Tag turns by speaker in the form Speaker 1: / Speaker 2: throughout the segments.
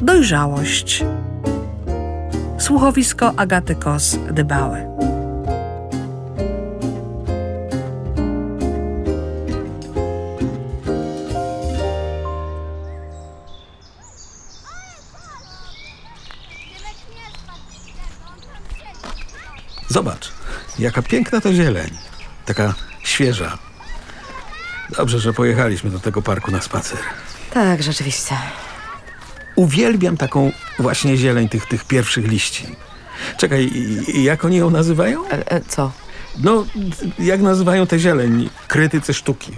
Speaker 1: dojrzałość. Słuchowisko Agaty Kos Dybałe.
Speaker 2: Zobacz, jaka piękna to zieleń. Taka świeża. Dobrze, że pojechaliśmy do tego parku na spacer.
Speaker 3: Tak, rzeczywiście.
Speaker 2: Uwielbiam taką właśnie zieleń tych, tych pierwszych liści. Czekaj, i- i jak oni ją nazywają?
Speaker 3: E, e, co?
Speaker 2: No, jak nazywają tę zieleń? Krytycy sztuki.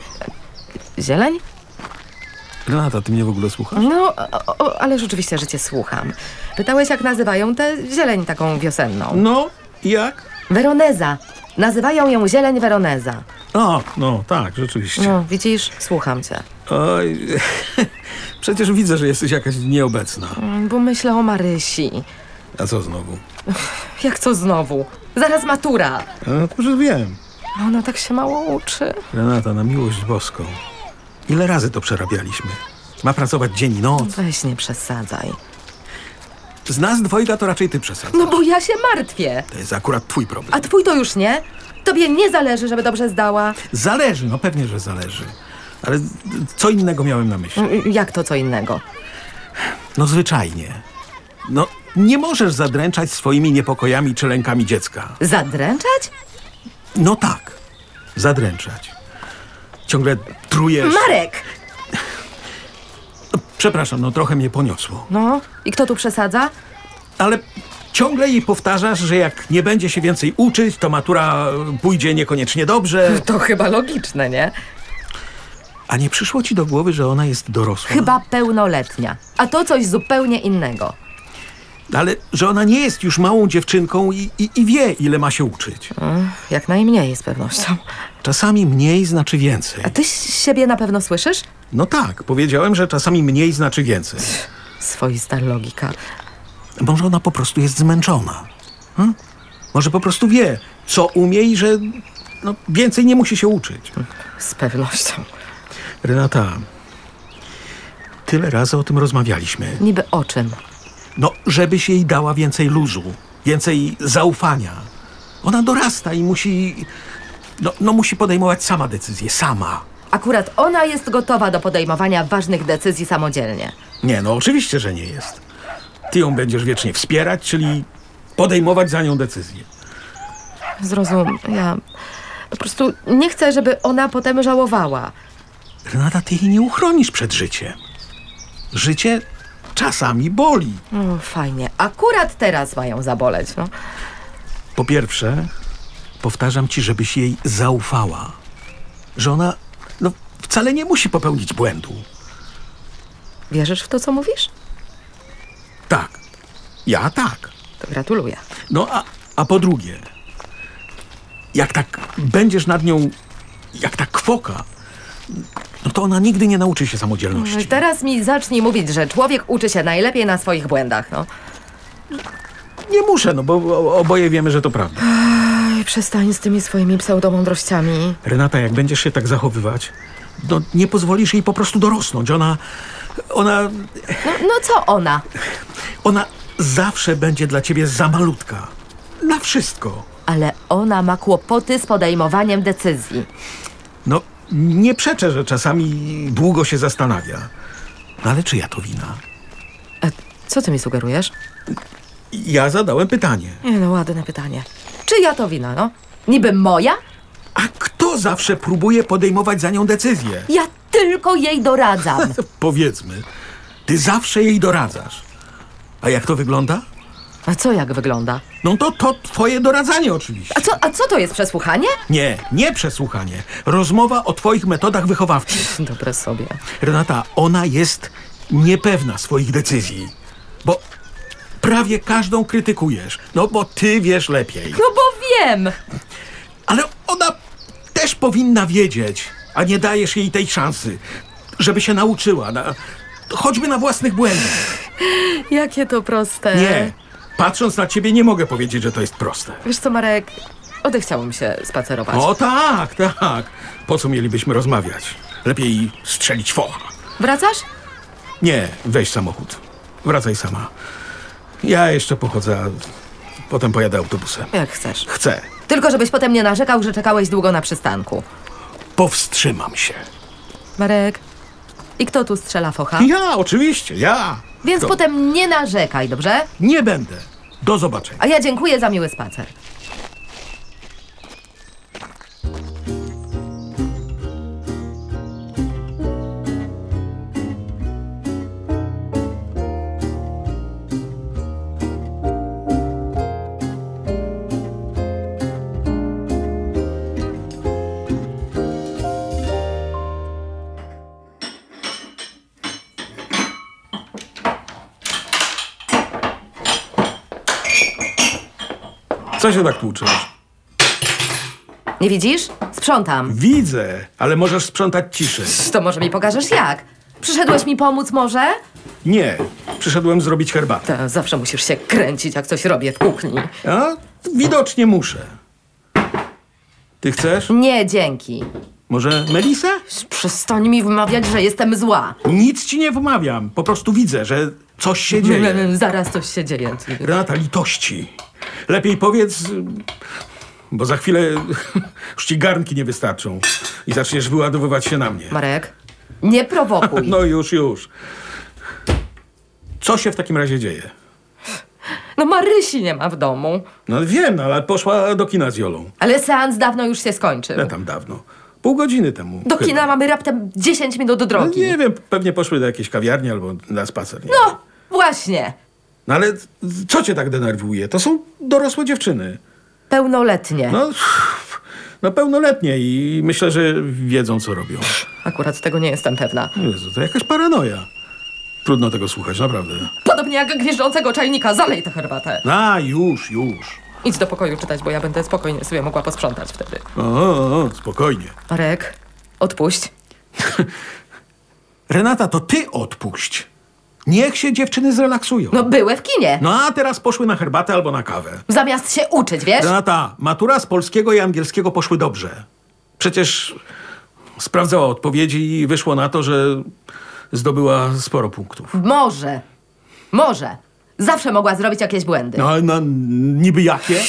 Speaker 3: Zieleń?
Speaker 2: Renata, ty mnie w ogóle słuchasz?
Speaker 3: No, o, o, ale rzeczywiście, że cię słucham. Pytałeś, jak nazywają tę zieleń taką wiosenną.
Speaker 2: No, i jak?
Speaker 3: Weroneza. Nazywają ją zieleń Weroneza.
Speaker 2: O, no tak, rzeczywiście.
Speaker 3: No, widzisz? Słucham cię.
Speaker 2: Oj, przecież widzę, że jesteś jakaś nieobecna.
Speaker 3: Mm, Bo myślę o Marysi.
Speaker 2: A co znowu?
Speaker 3: Jak co znowu? Zaraz matura.
Speaker 2: No, to już wiem.
Speaker 3: A Ona tak się mało uczy.
Speaker 2: Renata, na miłość boską. Ile razy to przerabialiśmy? Ma pracować dzień i noc.
Speaker 3: Weź nie przesadzaj.
Speaker 2: Z nas dwojga to raczej ty przesadzasz.
Speaker 3: No bo ja się martwię.
Speaker 2: To jest akurat twój problem.
Speaker 3: A twój to już nie? Tobie nie zależy, żeby dobrze zdała.
Speaker 2: Zależy, no pewnie, że zależy. Ale co innego miałem na myśli?
Speaker 3: Mm, Jak to co innego?
Speaker 2: No zwyczajnie. No, nie możesz zadręczać swoimi niepokojami czy lękami dziecka.
Speaker 3: Zadręczać?
Speaker 2: No tak, zadręczać. Ciągle trujesz...
Speaker 3: Marek!
Speaker 2: Przepraszam, no trochę mnie poniosło.
Speaker 3: No, i kto tu przesadza?
Speaker 2: Ale ciągle jej powtarzasz, że jak nie będzie się więcej uczyć, to matura e, pójdzie niekoniecznie dobrze.
Speaker 3: To chyba logiczne, nie?
Speaker 2: A nie przyszło ci do głowy, że ona jest dorosła?
Speaker 3: Chyba pełnoletnia. A to coś zupełnie innego.
Speaker 2: Ale że ona nie jest już małą dziewczynką i, i, i wie, ile ma się uczyć.
Speaker 3: Jak najmniej z pewnością.
Speaker 2: Czasami mniej znaczy więcej.
Speaker 3: A ty s- siebie na pewno słyszysz?
Speaker 2: No tak, powiedziałem, że czasami mniej znaczy więcej.
Speaker 3: Swoista logika.
Speaker 2: Może ona po prostu jest zmęczona. Hm? Może po prostu wie, co umie i że no, więcej nie musi się uczyć.
Speaker 3: Z pewnością.
Speaker 2: Renata, tyle razy o tym rozmawialiśmy.
Speaker 3: Niby o czym?
Speaker 2: No, żebyś jej dała więcej luzu, więcej zaufania. Ona dorasta i musi. No, no musi podejmować sama decyzje, sama.
Speaker 3: Akurat ona jest gotowa do podejmowania ważnych decyzji samodzielnie.
Speaker 2: Nie, no oczywiście, że nie jest. Ty ją będziesz wiecznie wspierać, czyli podejmować za nią decyzje.
Speaker 3: Zrozum, ja po prostu nie chcę, żeby ona potem żałowała.
Speaker 2: Renata, ty jej nie uchronisz przed życiem. Życie czasami boli.
Speaker 3: No, fajnie. Akurat teraz mają zaboleć, no.
Speaker 2: Po pierwsze, powtarzam ci, żebyś jej zaufała. Że ona no, wcale nie musi popełnić błędu.
Speaker 3: Wierzysz w to, co mówisz?
Speaker 2: Tak. Ja tak.
Speaker 3: To gratuluję.
Speaker 2: No a, a po drugie, jak tak będziesz nad nią, jak ta kwoka, no to ona nigdy nie nauczy się
Speaker 3: No i
Speaker 2: samodzielności.
Speaker 3: Teraz mi zacznij mówić, że człowiek uczy się najlepiej na swoich błędach, no.
Speaker 2: Nie muszę, no bo o- oboje wiemy, że to prawda.
Speaker 3: Oj, przestań z tymi swoimi pseudomądrościami.
Speaker 2: Renata, jak będziesz się tak zachowywać, no nie pozwolisz jej po prostu dorosnąć. Ona, ona,
Speaker 3: No, no co ona?
Speaker 2: ona zawsze będzie dla ciebie za malutka. Na wszystko.
Speaker 3: Ale ona ma kłopoty z podejmowaniem decyzji.
Speaker 2: No, nie przeczę, że czasami długo się zastanawia. No ale czyja to wina?
Speaker 3: E, co ty mi sugerujesz?
Speaker 2: Ja zadałem pytanie.
Speaker 3: Nie no, ładne pytanie. Czyja to wina, no? Niby moja?
Speaker 2: A kto zawsze próbuje podejmować za nią decyzję?
Speaker 3: Ja tylko jej doradzam.
Speaker 2: Powiedzmy, ty zawsze jej doradzasz. A jak to wygląda?
Speaker 3: A co jak wygląda?
Speaker 2: No to to twoje doradzanie oczywiście.
Speaker 3: A co, a co to jest przesłuchanie?
Speaker 2: Nie, nie przesłuchanie. Rozmowa o twoich metodach wychowawczych.
Speaker 3: Dobre sobie.
Speaker 2: Renata, ona jest niepewna swoich decyzji. Bo prawie każdą krytykujesz. No bo ty wiesz lepiej.
Speaker 3: No bo wiem!
Speaker 2: Ale ona też powinna wiedzieć, a nie dajesz jej tej szansy, żeby się nauczyła. Na, choćby na własnych błędach.
Speaker 3: Jakie to proste.
Speaker 2: Nie. Patrząc na ciebie, nie mogę powiedzieć, że to jest proste.
Speaker 3: Wiesz co, Marek, odechciało mi się spacerować.
Speaker 2: O tak, tak. Po co mielibyśmy rozmawiać? Lepiej strzelić focha.
Speaker 3: Wracasz?
Speaker 2: Nie, weź samochód. Wracaj sama. Ja jeszcze pochodzę, a potem pojadę autobusem.
Speaker 3: Jak chcesz.
Speaker 2: Chcę.
Speaker 3: Tylko żebyś potem nie narzekał, że czekałeś długo na przystanku.
Speaker 2: Powstrzymam się.
Speaker 3: Marek, i kto tu strzela focha?
Speaker 2: Ja, oczywiście, ja.
Speaker 3: Więc
Speaker 2: To-
Speaker 3: potem nie narzekaj, dobrze?
Speaker 2: Nie będę. Do zobaczenia.
Speaker 3: A ja dziękuję za miły spacer.
Speaker 2: Co się tak tłuczysz?
Speaker 3: Nie widzisz? Sprzątam.
Speaker 2: Widzę, ale możesz sprzątać ciszej.
Speaker 3: To może mi pokażesz jak? Przyszedłeś mi pomóc może?
Speaker 2: Nie, przyszedłem zrobić herbatę.
Speaker 3: To zawsze musisz się kręcić, jak coś robię w kuchni.
Speaker 2: A? Widocznie muszę. Ty chcesz?
Speaker 3: Nie, dzięki.
Speaker 2: Może Melisę?
Speaker 3: Przestań mi wmawiać, że jestem zła.
Speaker 2: Nic ci nie wmawiam. Po prostu widzę, że coś się dzieje.
Speaker 3: Mm, Zaraz coś się dzieje.
Speaker 2: Renata, litości. Lepiej powiedz, bo za chwilę już ci garnki nie wystarczą i zaczniesz wyładowywać się na mnie.
Speaker 3: Marek, nie prowokuj. No.
Speaker 2: No już, już. Co się w takim razie dzieje?
Speaker 3: No, Marysi nie ma w domu.
Speaker 2: No wiem, no, ale poszła do kina z Jolą.
Speaker 3: Ale seans dawno już się skończył.
Speaker 2: Ja tam dawno. Pół godziny temu.
Speaker 3: Do
Speaker 2: chyba.
Speaker 3: kina mamy raptem 10 minut do
Speaker 2: No,
Speaker 3: drogi.
Speaker 2: nie wiem, pewnie poszły do jakiejś kawiarni albo na spacer. Nie
Speaker 3: No, właśnie.
Speaker 2: No ale co cię tak denerwuje? To są dorosłe dziewczyny.
Speaker 3: Pełnoletnie.
Speaker 2: No, no pełnoletnie i myślę, że wiedzą, co robią.
Speaker 3: Akurat tego nie jestem pewna.
Speaker 2: Jezu, to jakaś paranoja. Trudno tego słuchać, naprawdę.
Speaker 3: Podobnie jak gnieżdżącego czajnika, zalej tę herbatę.
Speaker 2: A, już, już.
Speaker 3: Idź do pokoju czytać, bo ja będę spokojnie sobie mogła posprzątać wtedy.
Speaker 2: O, o, o spokojnie.
Speaker 3: Marek, odpuść.
Speaker 2: Renata, to ty odpuść. Niech się dziewczyny zrelaksują.
Speaker 3: No były w kinie.
Speaker 2: no a teraz poszły na herbatę albo na kawę.
Speaker 3: Zamiast się uczyć, wiesz?
Speaker 2: Renata, matura z polskiego i angielskiego poszły dobrze. Przecież sprawdzała odpowiedzi i wyszło na to, że zdobyła sporo punktów.
Speaker 3: Może. Może. Zawsze mogła zrobić jakieś błędy.
Speaker 2: No, no niby jakie?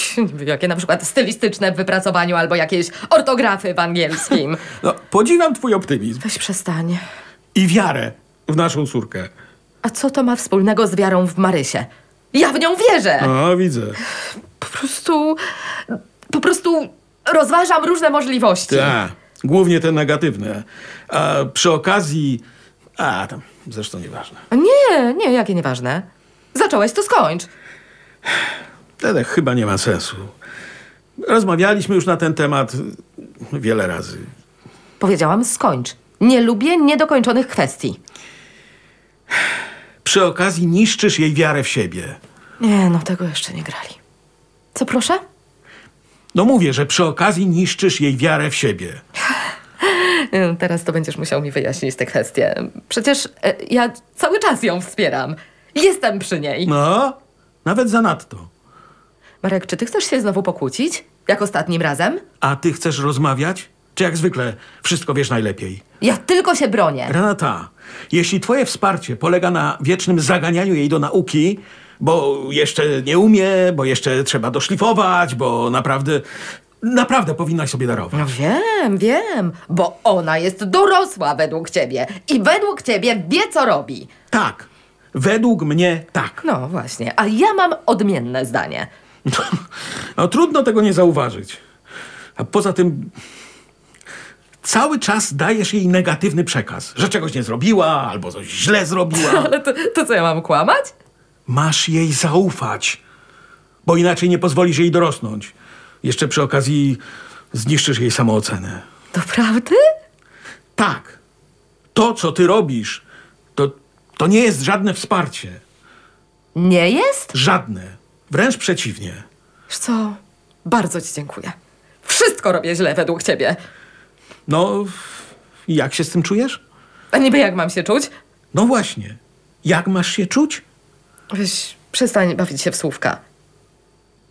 Speaker 3: Jakie na przykład stylistyczne w wypracowaniu albo jakieś ortografy w angielskim.
Speaker 2: No, podziwiam twój optymizm
Speaker 3: Weź przestań.
Speaker 2: i wiarę w naszą córkę.
Speaker 3: A co to ma wspólnego z wiarą w Marysię? Ja w nią wierzę.
Speaker 2: No, widzę.
Speaker 3: Po prostu... Po prostu rozważam różne możliwości.
Speaker 2: Tak, głównie te negatywne. A przy okazji... A, tam, zresztą nieważne.
Speaker 3: Nie, nie, jakie nieważne. Zacząłeś, to skończ.
Speaker 2: Tadek chyba nie ma sensu. Rozmawialiśmy już na ten temat wiele razy.
Speaker 3: Powiedziałam skończ. Nie lubię niedokończonych kwestii.
Speaker 2: Przy okazji niszczysz jej wiarę w siebie.
Speaker 3: Nie, no tego jeszcze nie grali. Co proszę?
Speaker 2: No mówię, że przy okazji niszczysz jej wiarę w siebie.
Speaker 3: Nie, no, Teraz to będziesz musiał mi wyjaśnić tę kwestię. Przecież e, ja cały czas ją wspieram. Jestem przy niej.
Speaker 2: No, nawet zanadto.
Speaker 3: Marek, czy ty chcesz się znowu pokłócić? Jak ostatnim razem?
Speaker 2: A ty chcesz rozmawiać? Czy jak zwykle wszystko wiesz najlepiej?
Speaker 3: Ja tylko się bronię.
Speaker 2: Renata, jeśli twoje wsparcie polega na wiecznym zaganianiu jej do nauki, bo jeszcze nie umie, bo jeszcze trzeba doszlifować, bo naprawdę, naprawdę powinnaś sobie darować.
Speaker 3: No wiem, wiem, bo ona jest dorosła według ciebie i według ciebie wie, co robi.
Speaker 2: Tak, według mnie tak.
Speaker 3: No właśnie, a ja mam odmienne zdanie.
Speaker 2: No, trudno tego nie zauważyć. A poza tym cały czas dajesz jej negatywny przekaz, że czegoś nie zrobiła albo coś źle zrobiła.
Speaker 3: Ale to, to co ja mam kłamać?
Speaker 2: Masz jej zaufać, bo inaczej nie pozwolisz jej dorosnąć. Jeszcze przy okazji zniszczysz jej samoocenę.
Speaker 3: Doprawdy?
Speaker 2: Tak, to co ty robisz, to, to nie jest żadne wsparcie.
Speaker 3: Nie jest?
Speaker 2: Żadne. Wręcz przeciwnie.
Speaker 3: Wiesz co? Bardzo ci dziękuję. Wszystko robię źle według ciebie.
Speaker 2: No, jak się z tym czujesz?
Speaker 3: A niby jak mam się czuć?
Speaker 2: No właśnie. Jak masz się czuć?
Speaker 3: Weź, przestań bawić się w słówka.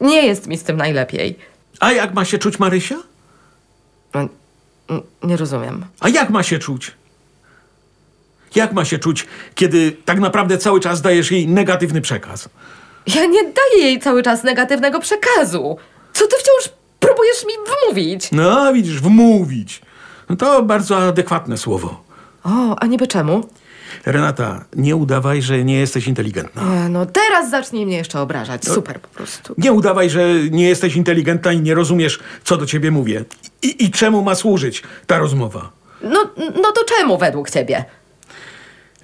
Speaker 3: Nie jest mi z tym najlepiej.
Speaker 2: A jak ma się czuć Marysia?
Speaker 3: No, n- Nie rozumiem.
Speaker 2: A jak ma się czuć? Jak ma się czuć, kiedy tak naprawdę cały czas dajesz jej negatywny przekaz?
Speaker 3: Ja nie daję jej cały czas negatywnego przekazu. Co ty wciąż próbujesz mi wmówić?
Speaker 2: No, widzisz, wmówić. No to bardzo adekwatne słowo.
Speaker 3: O, a niby czemu?
Speaker 2: Renata, nie udawaj, że nie jesteś inteligentna.
Speaker 3: E, No teraz zacznij mnie jeszcze obrażać. Super po prostu.
Speaker 2: Nie udawaj, że nie jesteś inteligentna i nie rozumiesz, co do ciebie mówię. I, i czemu ma służyć ta rozmowa?
Speaker 3: No, no to czemu według ciebie?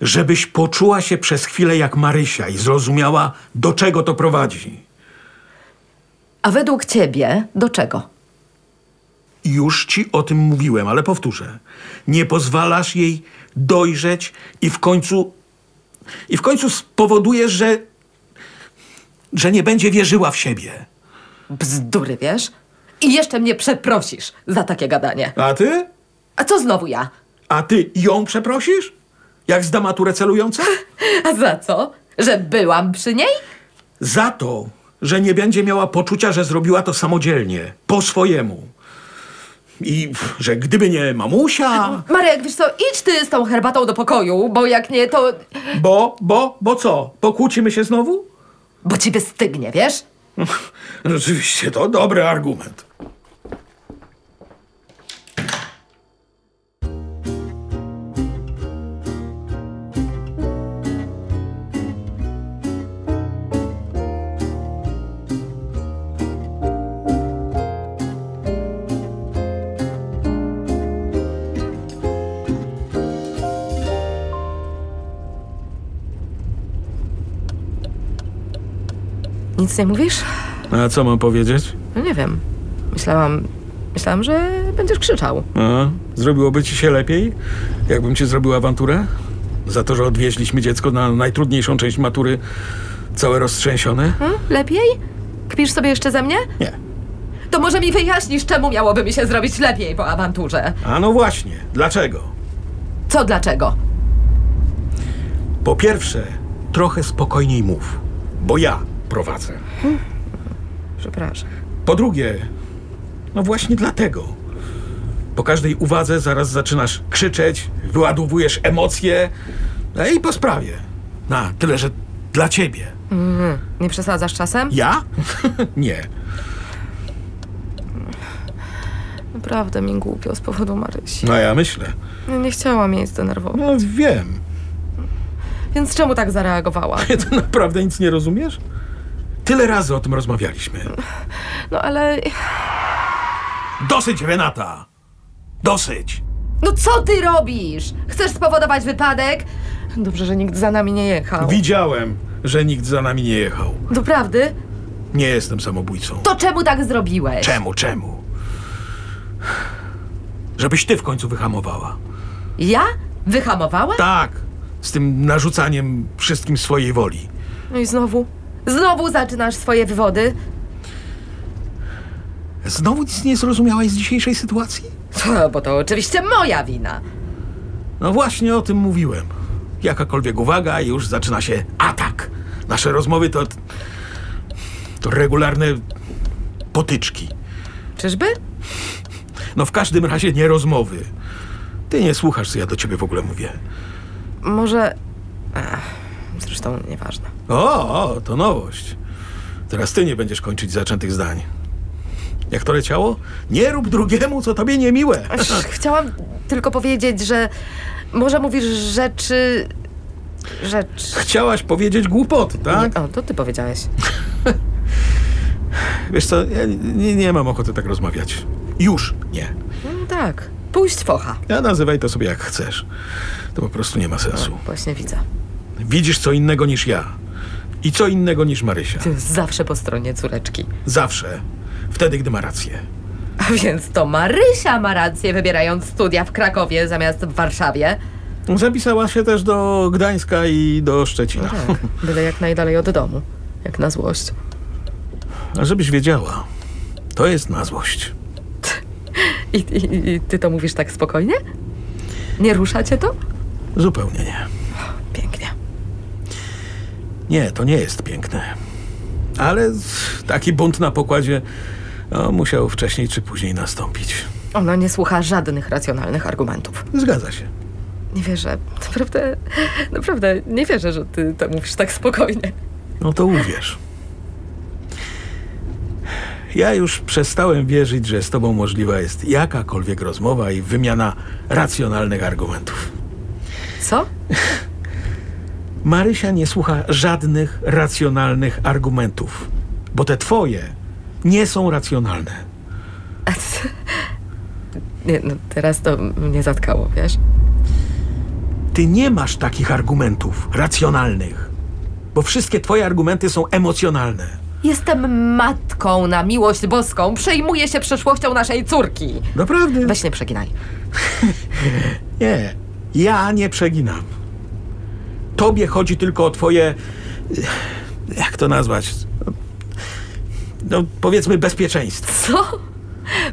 Speaker 2: Żebyś poczuła się przez chwilę jak Marysia i zrozumiała, do czego to prowadzi.
Speaker 3: A według ciebie do czego?
Speaker 2: Już ci o tym mówiłem, ale powtórzę. Nie pozwalasz jej dojrzeć i w końcu. i w końcu spowodujesz, że. że nie będzie wierzyła w siebie.
Speaker 3: Bzdury, wiesz? I jeszcze mnie przeprosisz za takie gadanie.
Speaker 2: A ty?
Speaker 3: A co znowu ja?
Speaker 2: A ty ją przeprosisz? Jak zda maturę celującą?
Speaker 3: A za co? Że byłam przy niej?
Speaker 2: Za to, że nie będzie miała poczucia, że zrobiła to samodzielnie, po swojemu. I pff, że gdyby nie mamusia.
Speaker 3: Marek, wiesz co, idź ty z tą herbatą do pokoju, bo jak nie, to...
Speaker 2: Bo, bo, bo co? Pokłócimy się znowu?
Speaker 3: Bo ci wystygnie, wiesz?
Speaker 2: Rzeczywiście, to dobry argument.
Speaker 3: Nic nie mówisz?
Speaker 2: A co mam powiedzieć?
Speaker 3: No nie wiem. Myślałam... Myślałam, że będziesz krzyczał.
Speaker 2: A, zrobiłoby ci się lepiej, jakbym ci zrobił awanturę? Za to, że odwieźliśmy dziecko na najtrudniejszą część matury, całe roztrzęsione?
Speaker 3: Hm? Lepiej? Kpisz sobie jeszcze ze mnie?
Speaker 2: Nie.
Speaker 3: To może mi wyjaśnisz, czemu miałoby mi się zrobić lepiej po awanturze?
Speaker 2: A no właśnie, dlaczego?
Speaker 3: Co dlaczego?
Speaker 2: Po pierwsze, trochę spokojniej mów, bo ja prowadzę.
Speaker 3: Przepraszam.
Speaker 2: Po drugie, no właśnie dlatego. Po każdej uwadze zaraz zaczynasz krzyczeć, wyładowujesz emocje, no i po sprawie. Na tyle, że dla ciebie.
Speaker 3: Nie przesadzasz czasem?
Speaker 2: Ja? Nie.
Speaker 3: Naprawdę mi głupio z powodu Marysi.
Speaker 2: No ja myślę.
Speaker 3: No Nie chciałam jej zdenerwować.
Speaker 2: No wiem.
Speaker 3: Więc czemu tak zareagowała?
Speaker 2: Ty to naprawdę nic nie rozumiesz? Tyle razy o tym rozmawialiśmy.
Speaker 3: No ale...
Speaker 2: Dosyć, Renata! Dosyć!
Speaker 3: No co ty robisz? Chcesz spowodować wypadek? Dobrze, że nikt za nami nie jechał.
Speaker 2: Widziałem, że nikt za nami nie jechał.
Speaker 3: Doprawdy?
Speaker 2: Nie jestem samobójcą.
Speaker 3: To czemu tak zrobiłeś?
Speaker 2: Czemu, czemu? Żebyś ty w końcu wyhamowała.
Speaker 3: Ja? Wyhamowała?
Speaker 2: Tak, z tym narzucaniem wszystkim swojej woli.
Speaker 3: No i znowu. Znowu zaczynasz swoje wywody.
Speaker 2: Znowu nic nie zrozumiałaś z dzisiejszej sytuacji?
Speaker 3: Co, No, bo to oczywiście moja wina.
Speaker 2: No właśnie o tym mówiłem. Jakakolwiek uwaga, już zaczyna się atak. Nasze rozmowy to. to regularne potyczki.
Speaker 3: Czyżby?
Speaker 2: No w każdym razie nie rozmowy. Ty nie słuchasz, co ja do ciebie w ogóle mówię.
Speaker 3: Może... Ach, zresztą nieważne.
Speaker 2: O, o, to nowość. Teraz ty nie będziesz kończyć zaczętych zdań. Jak to leciało? Nie rób drugiemu, co tobie niemiłe.
Speaker 3: Ach, Chciałam tylko powiedzieć, że może mówisz rzeczy... Rzecz...
Speaker 2: Chciałaś powiedzieć głupoty, tak?
Speaker 3: Nie, o, to ty powiedziałeś.
Speaker 2: Wiesz co, ja nie, nie mam ochoty tak rozmawiać. Już nie.
Speaker 3: No tak. Pójść focha.
Speaker 2: Ja nazywaj to sobie jak chcesz. To po prostu nie ma sensu.
Speaker 3: Właśnie widzę.
Speaker 2: Widzisz co innego niż ja. I co innego niż Marysia.
Speaker 3: Ty zawsze po stronie córeczki.
Speaker 2: Zawsze. Wtedy, gdy ma rację.
Speaker 3: A więc to Marysia ma rację, wybierając studia w Krakowie zamiast w Warszawie.
Speaker 2: Zapisała się też do Gdańska i do Szczecina.
Speaker 3: Tak, byle jak najdalej od domu. Jak na złość.
Speaker 2: A żebyś wiedziała, to jest na złość.
Speaker 3: I, i, I ty to mówisz tak spokojnie? Nie rusza cię to?
Speaker 2: Zupełnie nie.
Speaker 3: Pięknie.
Speaker 2: Nie, to nie jest piękne. Ale taki bunt na pokładzie no, musiał wcześniej czy później nastąpić.
Speaker 3: Ona nie słucha żadnych racjonalnych argumentów.
Speaker 2: Zgadza się.
Speaker 3: Nie wierzę. Naprawdę, naprawdę nie wierzę, że ty to mówisz tak spokojnie.
Speaker 2: No to uwierz. Ja już przestałem wierzyć, że z tobą możliwa jest jakakolwiek rozmowa i wymiana racjonalnych argumentów.
Speaker 3: Co?
Speaker 2: Marysia nie słucha żadnych racjonalnych argumentów, bo te twoje nie są racjonalne.
Speaker 3: A ty... Nie, no teraz to mnie zatkało, wiesz?
Speaker 2: Ty nie masz takich argumentów racjonalnych, bo wszystkie twoje argumenty są emocjonalne.
Speaker 3: Jestem matką na miłość boską. Przejmuję się przyszłością naszej córki.
Speaker 2: Naprawdę?
Speaker 3: Weź nie przeginaj.
Speaker 2: Nie, ja nie przeginam. Tobie chodzi tylko o twoje. Jak to nazwać? No, powiedzmy, bezpieczeństwo.
Speaker 3: Co?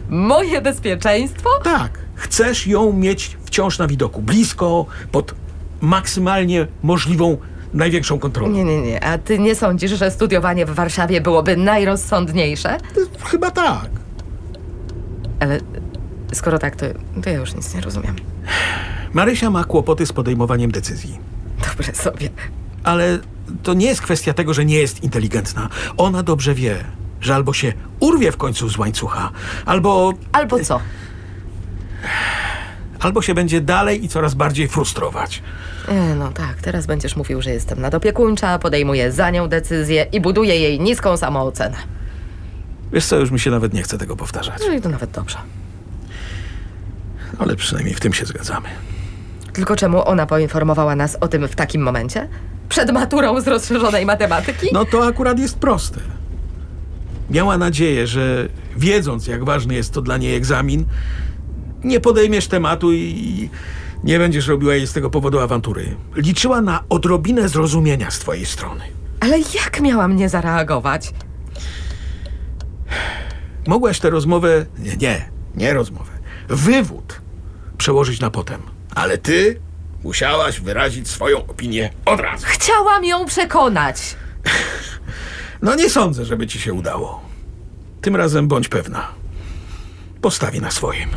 Speaker 3: Moje bezpieczeństwo?
Speaker 2: Tak, chcesz ją mieć wciąż na widoku, blisko, pod maksymalnie możliwą, największą kontrolą.
Speaker 3: Nie, nie, nie. A ty nie sądzisz, że studiowanie w Warszawie byłoby najrozsądniejsze?
Speaker 2: Chyba tak.
Speaker 3: Ale skoro tak, to, to ja już nic nie rozumiem.
Speaker 2: Marysia ma kłopoty z podejmowaniem decyzji.
Speaker 3: Dobre sobie.
Speaker 2: Ale to nie jest kwestia tego, że nie jest inteligentna. Ona dobrze wie, że albo się urwie w końcu z łańcucha, albo
Speaker 3: Albo co?
Speaker 2: albo się będzie dalej i coraz bardziej frustrować.
Speaker 3: E, no tak, teraz będziesz mówił, że jestem nadopiekuńcza, podejmuję za nią decyzję i buduję jej niską samoocenę.
Speaker 2: Wiesz co, już mi się nawet nie chce tego powtarzać,
Speaker 3: No i to nawet dobrze.
Speaker 2: ale przynajmniej w tym się zgadzamy.
Speaker 3: Tylko czemu ona poinformowała nas o tym w takim momencie? Przed maturą z rozszerzonej matematyki?
Speaker 2: No to akurat jest proste. Miała nadzieję, że wiedząc, jak ważny jest to dla niej egzamin, nie podejmiesz tematu i nie będziesz robiła jej z tego powodu awantury. Liczyła na odrobinę zrozumienia z twojej strony.
Speaker 3: Ale jak miałam nie zareagować?
Speaker 2: Mogłaś tę rozmowę, nie, nie, nie rozmowę, wywód przełożyć na potem. Ale ty musiałaś wyrazić swoją opinię od razu.
Speaker 3: Chciałam ją przekonać.
Speaker 2: No nie sądzę, żeby ci się udało. Tym razem bądź pewna. Postawi na swoim.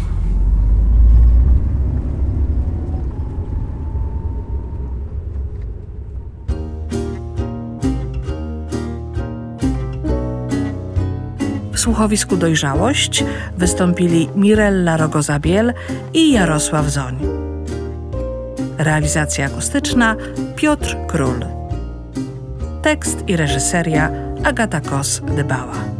Speaker 1: W słuchowisku Dojrzałość wystąpili Mirella Rogozabiel i Jarosław Zoń. Realizacja akustyczna Piotr Król. Tekst i reżyseria Agata Kos-Dybała.